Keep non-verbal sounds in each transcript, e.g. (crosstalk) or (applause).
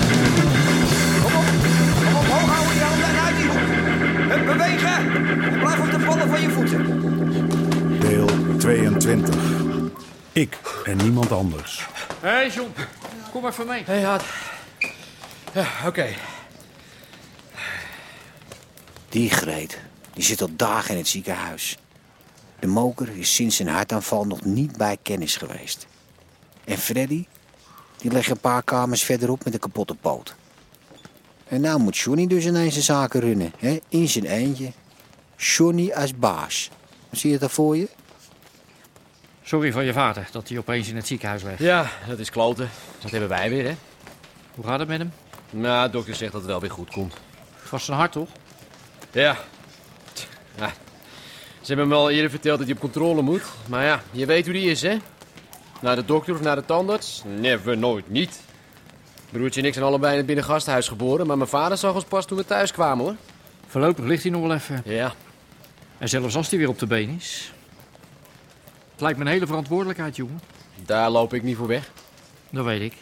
Kom op, kom op, hoog houden je handen en uit die hoek. Hup, bewegen. En blijf op de ballen van je voeten. Deel 22. Ik en niemand anders. Hé, John, kom even mee. Hé, ja. Ja, oké. Die Greet, die zit al dagen in het ziekenhuis. De moker is sinds zijn hartaanval nog niet bij kennis geweest. En Freddy, die legt een paar kamers verderop met een kapotte poot. En nou moet Johnny dus ineens zijn zaken runnen, hè? in zijn eentje. Johnny als baas. Zie je dat voor je? Sorry van je vader dat hij opeens in het ziekenhuis ligt. Ja, dat is kloten. Dat hebben wij weer, hè? Hoe gaat het met hem? Nou, de dokter zegt dat het wel weer goed komt. Het was zijn hart, toch? Ja. Tch, ja. Ze hebben me al eerder verteld dat hij op controle moet. Maar ja, je weet hoe die is, hè? Naar de dokter of naar de tandarts? Never, nooit, niet. Broertje en ik zijn allebei in het binnengasthuis geboren, maar mijn vader zag ons pas toen we thuis kwamen, hoor. Voorlopig ligt hij nog wel even. Ja. En zelfs als hij weer op de been is. Het lijkt me een hele verantwoordelijkheid, jongen. Daar loop ik niet voor weg. Dat weet ik.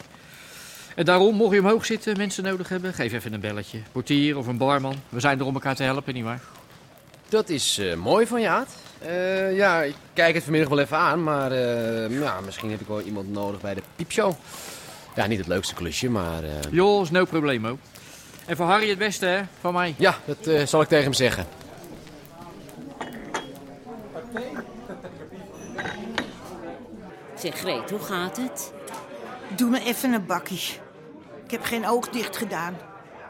En daarom, mocht je omhoog zitten, mensen nodig hebben, geef even een belletje. Portier of een barman. We zijn er om elkaar te helpen, nietwaar? Dat is eh, mooi van je, Aad. Eh, ja, ik kijk het vanmiddag wel even aan, maar eh, ja, misschien heb ik wel iemand nodig bij de piepshow. Ja, niet het leukste klusje, maar... eh, Joh, is no problemo. En voor Harry het beste, hè? Van mij. Ja, dat eh, zal ik tegen hem zeggen. Zeg Greet, hoe gaat het? Doe me even een bakkie. Ik heb geen oog dicht gedaan.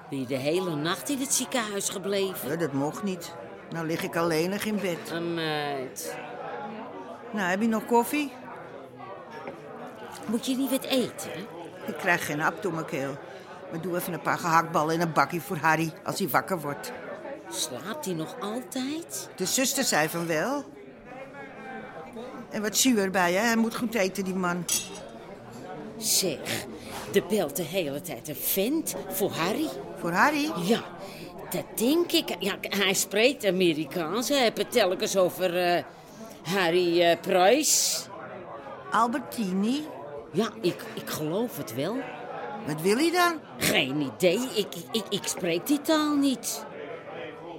Ben je de hele nacht in het ziekenhuis gebleven? Ja, dat mocht niet. Nou lig ik alleenig in bed. Een meid. Nou, heb je nog koffie? Moet je niet wat eten? Ik krijg geen hap door mijn keel. Maar doe even een paar gehaktballen en een bakkie voor Harry als hij wakker wordt. Slaapt hij nog altijd? De zuster zei van wel. En wat zuur bij hè? Hij moet goed eten, die man. Zeg, er belt de hele tijd een vent voor Harry. Voor Harry? Ja, dat denk ik. Ja, hij spreekt Amerikaans. Hij heeft het telkens over eh, Harry eh Price. Albertini? Ja, ik, ik geloof het wel. Wat wil hij dan? Geen idee. Ik, ik, ik spreek die taal niet.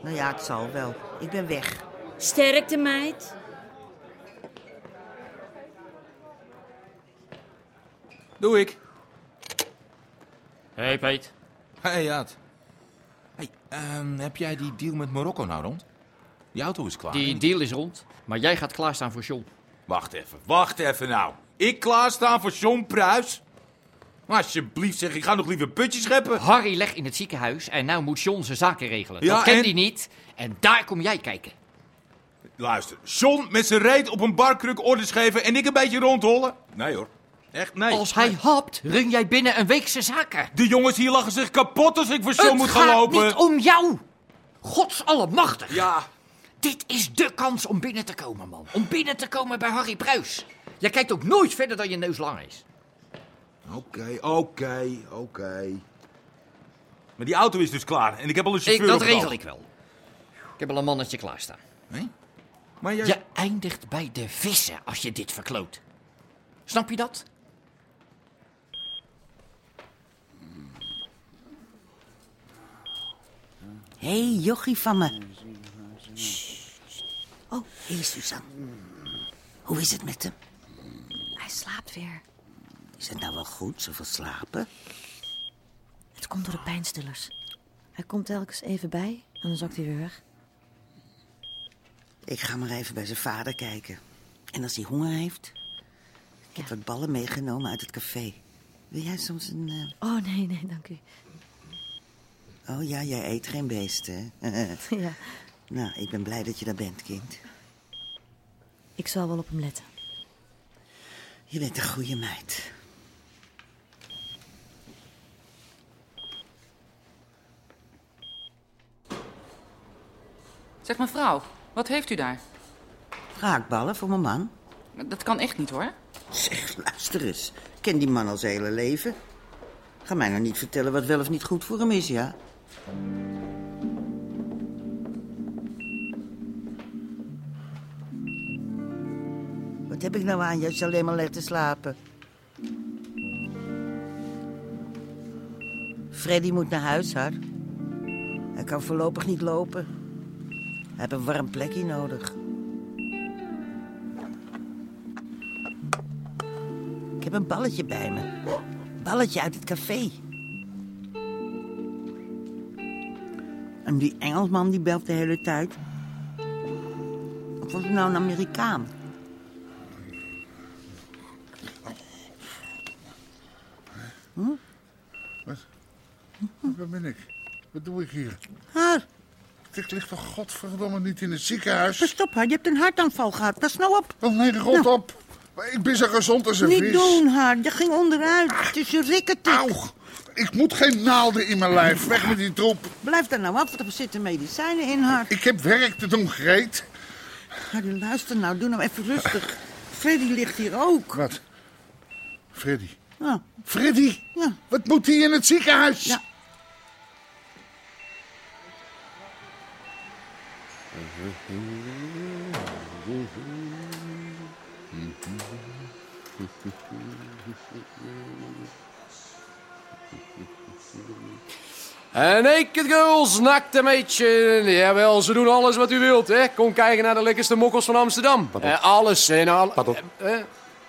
Nou ja, het zal wel. Ik ben weg. Sterkte, meid. Doe ik. Hé, hey, Peet. Hey, Jaat. Hey, ehm, heb jij die deal met Marokko nou rond? Die auto is klaar. Die deal is rond. Maar jij gaat klaarstaan voor John. Wacht even, wacht even nou. Ik klaarstaan voor John Pruis? Maar alsjeblieft zeg, ik ga nog liever putjes scheppen. Harry legt in het ziekenhuis en nou moet John zijn zaken regelen. Ja, dat kent en- hij niet en daar kom jij kijken. Luister, John met zijn reet op een barkruk orders geven en ik een beetje rondhollen? Nee hoor, echt nee. Als hij hapt, run jij binnen een week zijn zaken. De jongens hier lachen zich kapot als ik voor John het moet gaat gaan lopen. niet om jou. Godsallemachtig. Ja, Dit is de kans om binnen te komen, man. Om binnen te komen bij Harry Pruis. Jij kijkt ook nooit verder dan je neus lang is. Oké, oké, oké. Maar die auto is dus klaar en ik heb al een chauffeur Ik, dat opgehaald. regel ik wel. Ik heb al een mannetje klaarstaan. Maar jij... Je eindigt bij de vissen als je dit verkloot. Snap je dat? Hé, hey, jochie van me. Oh, hier is Suzanne. Hoe is het met hem? Hij slaapt weer. Is het nou wel goed, zoveel slapen? Het komt door de pijnstillers. Hij komt telkens even bij en dan zakt hij weer weg. Ik ga maar even bij zijn vader kijken. En als hij honger heeft. Ik heb Ja. wat ballen meegenomen uit het café. Wil jij soms een. eh, Oh nee, nee, dank u. Oh ja, jij eet geen beest, hè? (laughs) (laughs) Ja, nou, ik ben blij dat je daar bent, kind. ik zal wel op hem letten. Je bent een goede meid. Zeg mevrouw, wat heeft u daar? Braakballen voor mijn man. Dat kan echt niet hoor. Zeg, luister eens. Ik ken die man al zijn hele leven. Ga mij nou niet vertellen wat wel of niet goed voor hem is, ja? Wat heb ik nou aan je als je alleen maar ligt te slapen? Freddy moet naar huis, haar. Hij kan voorlopig niet lopen. Hij heeft een warm plekje nodig. Ik heb een balletje bij me. Balletje uit het café. En die Engelsman die belt de hele tijd. Of was het nou een Amerikaan? Hm? Wat? Waar ben ik? Wat doe ik hier? Haar. Ik lig toch godverdomme niet in het ziekenhuis? Stop, haar. Je hebt een hartaanval gehad. Pas nou op. Oh, nee, rot op. Maar Ik ben zo gezond als een Niet vis. doen, haar. Je ging onderuit. Het is je rikketik. Ik moet geen naalden in mijn lijf. Weg met die troep. Blijf daar nou af, want er zitten medicijnen in, haar. Ik heb werk te doen, Greet. Harry, luister nou. Doe nou even rustig. Freddy ligt hier ook. Wat? Freddy. Ja. Freddy? Ja. Wat moet hij in het ziekenhuis? Ja. En naked girls, nakte meidje. Jawel, ze doen alles wat u wilt, hè. Kom kijken naar de lekkerste mokkels van Amsterdam. Eh, alles en alles. Eh,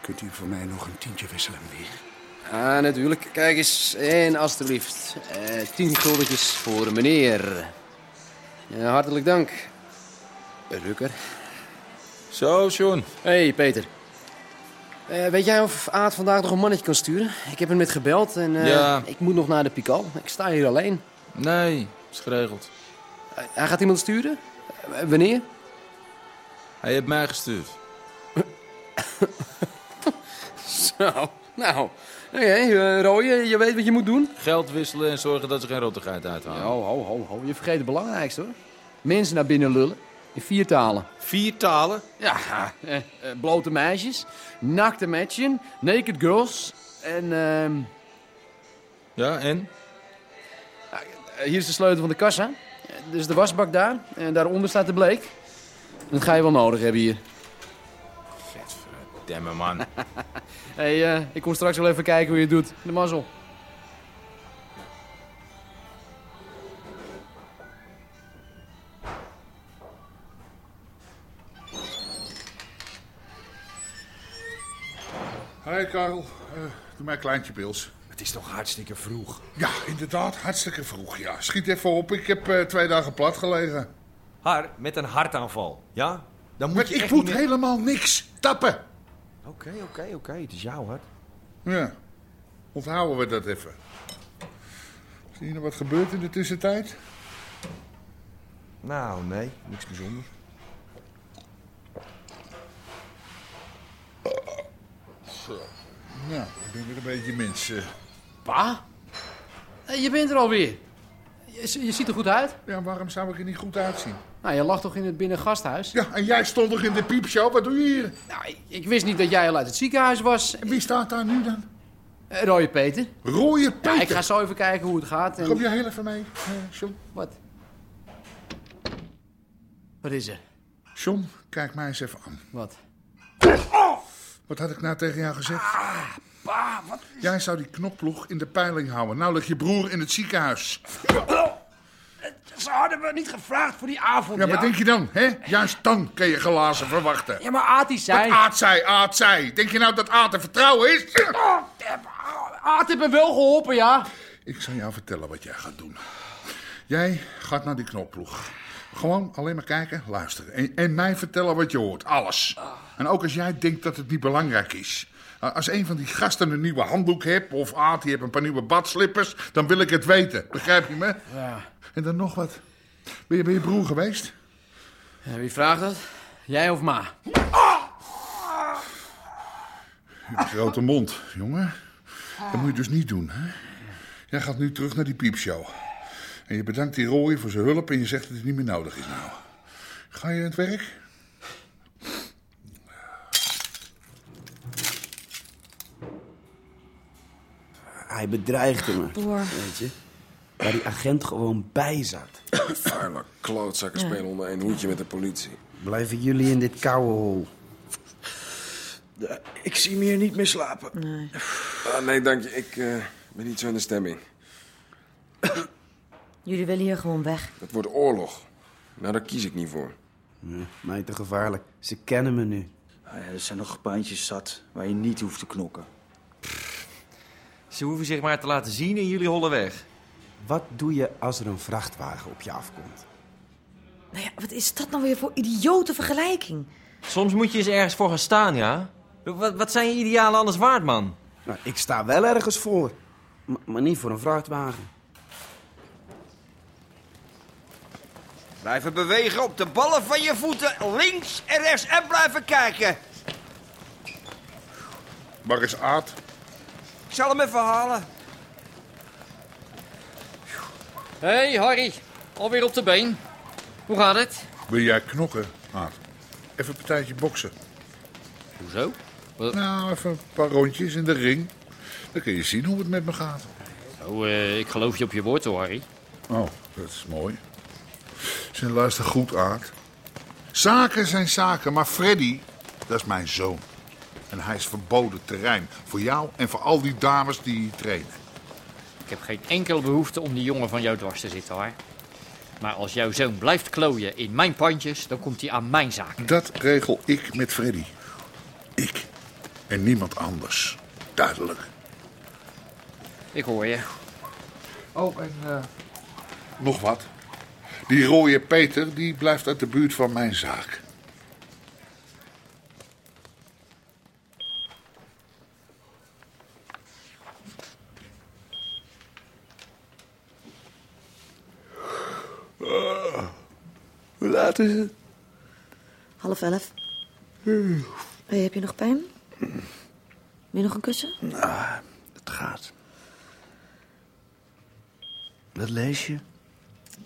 Kunt u voor mij nog een tientje wisselen, meneer? Ah, natuurlijk. Kijk eens. En alstublieft. eh tien guldetjes voor meneer. Ja, hartelijk dank. Eh, Rukker. Zo, John. hey, Peter. Eh, weet jij of Aad vandaag nog een mannetje kan sturen? Ik heb hem net gebeld en eh, Ja. ik moet nog naar de Pikal. Ik sta hier alleen. Nee, is geregeld. hij gaat iemand sturen? Eh, wanneer? Hij heeft mij gestuurd. Zo, nou. Oké, eh, Rooie, je weet wat je moet doen. Geld wisselen en zorgen dat ze geen rottigheid uithalen. Ho, ho, ho, ho. Je vergeet het belangrijkste hoor. Mensen naar binnen lullen. In vier talen. Vier talen? Ja. eh, eh, blote meisjes. Nakte matchen. Naked girls. En ehm Ja, en? eh, hier is de sleutel van de kassa. Eh, Dus de wasbak daar. En daaronder staat de bleek. Dat ga je wel nodig hebben hier. Demme (laughs) man. Hé, hey, eh, ik kom straks wel even kijken hoe je het doet. De mazzel. Hi, Karel. Eh, doe mij een kleintje pils. Het is toch hartstikke vroeg. Ja, inderdaad. Hartstikke vroeg, ja. Schiet even op. Ik heb eh, twee dagen plat gelegen. Haar met een hartaanval, ja? Dan moet Maar je ik echt moet niet meer- helemaal niks tappen. Oké, oké, oké. Het is jouw hart. Ja. Onthouden we dat even. Zie je nog wat gebeurt in de tussentijd? Nou, nee. Niks bijzonders. Zo. Nou, ik ben weer een beetje eh. mensen. Pa? Eh, je bent er alweer. Je, ziet er goed uit. Ja, waarom zou ik er niet goed uitzien? Nou, je lag toch in het binnengasthuis? Ja, en jij stond nog in de piepshow. Wat doe je hier? Nou, ik, ik wist niet dat jij al uit het ziekenhuis was. En wie staat daar nu dan? Rooie Peter. Rooie Peter? ik ga zo even kijken hoe het gaat. En... Kom jij heel even mee, eh, John? Wat? Wat is er? John, kijk mij eens even aan. Wat? Wat had ik nou tegen jou gezegd? Pa, wat? Jij zou die knopploeg in de peiling houden. Nou ligt je broer in het ziekenhuis. Ze hadden me niet gevraagd voor die avond, Ja, wat denk je dan, hè? Juist dan kun je glazen verwachten. Ja, maar Aad die zei... Wat Aad zei, Aad zei. Denk je nou dat Aad te vertrouwen is? Oh, Aad heeft me wel geholpen, ja. Ik zal jou vertellen wat jij gaat doen. Jij gaat naar die knopploeg. Gewoon alleen maar kijken, luisteren. En, en mij vertellen wat je hoort. Alles. En ook als jij denkt dat het niet belangrijk is. Uh, Als een van die gasten een nieuwe handdoek heeft... of Aad, die heeft een paar nieuwe badslippers... dan wil ik het weten. Begrijp je me? Ja. En dan nog wat. Ben je bij je broer geweest? Wie vraagt dat? Jij of ma? Je hebt een grote mond, jongen. Dat moet je dus niet doen, hè? Jij gaat nu terug naar die piepshow. En je bedankt die rooie voor zijn hulp en je zegt dat het niet meer nodig is nou. Ga je aan het werk? Hij bedreigde me. Boor. Weet je? Waar die agent gewoon bij zat. Vuile klootzakken Ja. spelen onder één hoedje met de politie. Blijven jullie in dit koude hol? Ik zie me hier niet meer slapen. Nee. Ah, nee, dank je. Ik eh, ben niet zo in de stemming. Jullie willen hier gewoon weg. Het wordt oorlog. Nou, daar kies ik niet voor. Nee, mij te gevaarlijk. Ze kennen me nu. Ah er zijn nog baantjes zat waar je niet hoeft te knokken. Ze hoeven zich maar te laten zien in jullie holle weg. Wat doe je als er een vrachtwagen op je afkomt? Nou ja, wat is dat nou weer voor idiote vergelijking? Soms moet je eens ergens voor gaan staan, ja? Wat, wat zijn je idealen anders waard, man? Nou, ik sta wel ergens voor. M- maar niet voor een vrachtwagen. Blijven bewegen op de ballen van je voeten. Links en rechts en blijven kijken. Waar is Aad? Ik zal hem even halen. Hé, hey, Harry. Alweer op de been. Hoe gaat het? Wil jij knokken, Aad? Even een partijtje boksen. Hoezo? Nou, even een paar rondjes in de ring. Dan kun je zien hoe het met me gaat. Nou, ik geloof je op je woord hoor, Harry. Oh, dat is mooi. Zijn luister goed, Aard. Zaken zijn zaken, maar Freddy, dat is mijn zoon. En hij is verboden terrein voor jou en voor al die dames die hier trainen. Ik heb geen enkele behoefte om die jongen van jou dwars te zitten, hoor. Maar als jouw zoon blijft klooien in mijn pandjes, dan komt hij aan mijn zaak. Dat regel ik met Freddy. Ik en niemand anders. Duidelijk. Ik hoor je. Oh, en... Nog wat. Die rode Peter, die blijft uit de buurt van mijn zaak. Hoe laat is het? Half elf. Hey, heb je nog pijn? Wil je nog een kussen? Ah, het gaat. Wat lees je?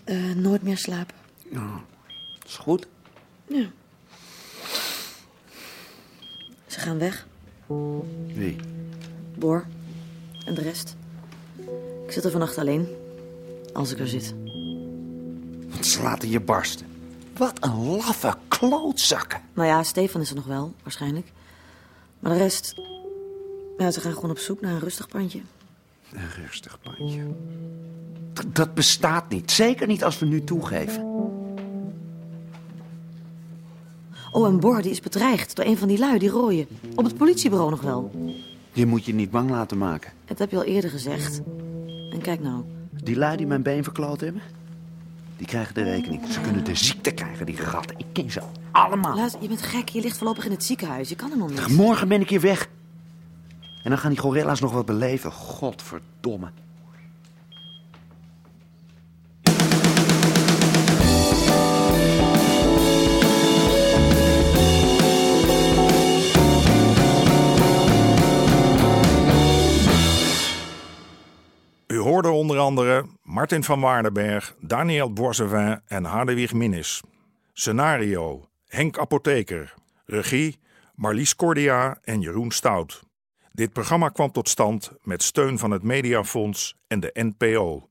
Eh, nooit meer slapen. Oh, is goed. Ja. Ze gaan weg. Wie? Boor. En de rest. Ik zit er vannacht alleen. Als ik er zit. Want ze laten je barsten. Wat een laffe klootzakken. Nou ja, Stefan is er nog wel, waarschijnlijk. Maar de rest... Ja, ze gaan gewoon op zoek naar een rustig pandje. Een rustig pandje. D- dat bestaat niet. Zeker niet als we nu toegeven. Oh, en Boor die is bedreigd door een van die lui, die rooien. Op het politiebureau nog wel. Je moet je niet bang laten maken. Dat heb je al eerder gezegd. En kijk nou. Die lui die mijn been verkloot hebben, die krijgen de rekening. Ze kunnen de ziekte krijgen, die gatten. Ik ken ze al. Allemaal. Luister, je bent gek. Je ligt voorlopig in het ziekenhuis. Je kan er nog niet. Morgen ben ik hier weg. En dan gaan die gorilla's nog wat beleven. Godverdomme. U hoorde onder andere Martin van Waardenberg, Daniel Boisevin en Hadewig Minnis. Scenario: Henk Apotheker. Regie: Marlies Cordia en Jeroen Stout. Dit programma kwam tot stand met steun van het Mediafonds en de NPO.